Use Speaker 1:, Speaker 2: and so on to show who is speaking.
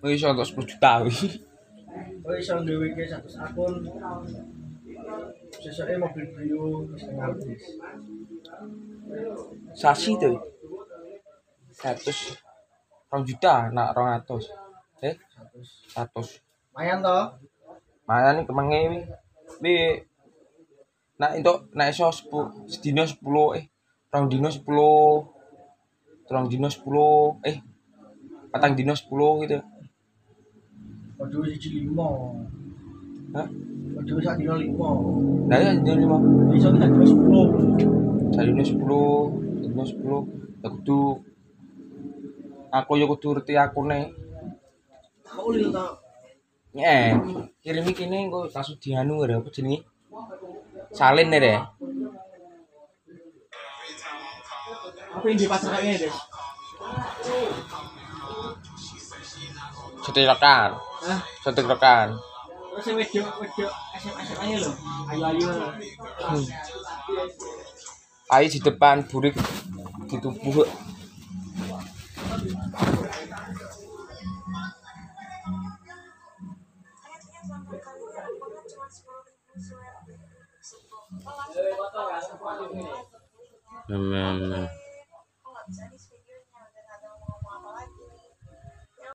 Speaker 1: Wis iso kok 10 juta kuwi.
Speaker 2: Kowe iso duwe iki 100 akun. Sesoke mobil Brio setengah habis.
Speaker 1: Sasi to. 100 2 juta nak 200. Eh,
Speaker 2: 100.
Speaker 1: 100.
Speaker 2: Mayan to?
Speaker 1: Mana nih kemenge wi. Wi nak entuk nak iso 10 sedina 10 eh rong dino 10 rong dino 10 eh patang dino 10 gitu.
Speaker 2: Padha siji limo.
Speaker 1: Hah?
Speaker 2: Padha sak dino limo.
Speaker 1: Lah ya dino 5.
Speaker 2: Iso kita dua sepuluh.
Speaker 1: Salune 10, Salune 10. Ya kudu aku yo kudu reti akune.
Speaker 2: Aku lho tau.
Speaker 1: Eh, kirimi kene engko kasus dianu ya apa jenenge? Salin nih deh.
Speaker 2: Aku yang di pasar kayaknya deh.
Speaker 1: Setrikan,
Speaker 2: Hah?
Speaker 1: setrikan.
Speaker 2: Terus yang wedok wedok SMA SMA nya lho. Ayo ayo.
Speaker 1: Ayo di depan burik ditubuh.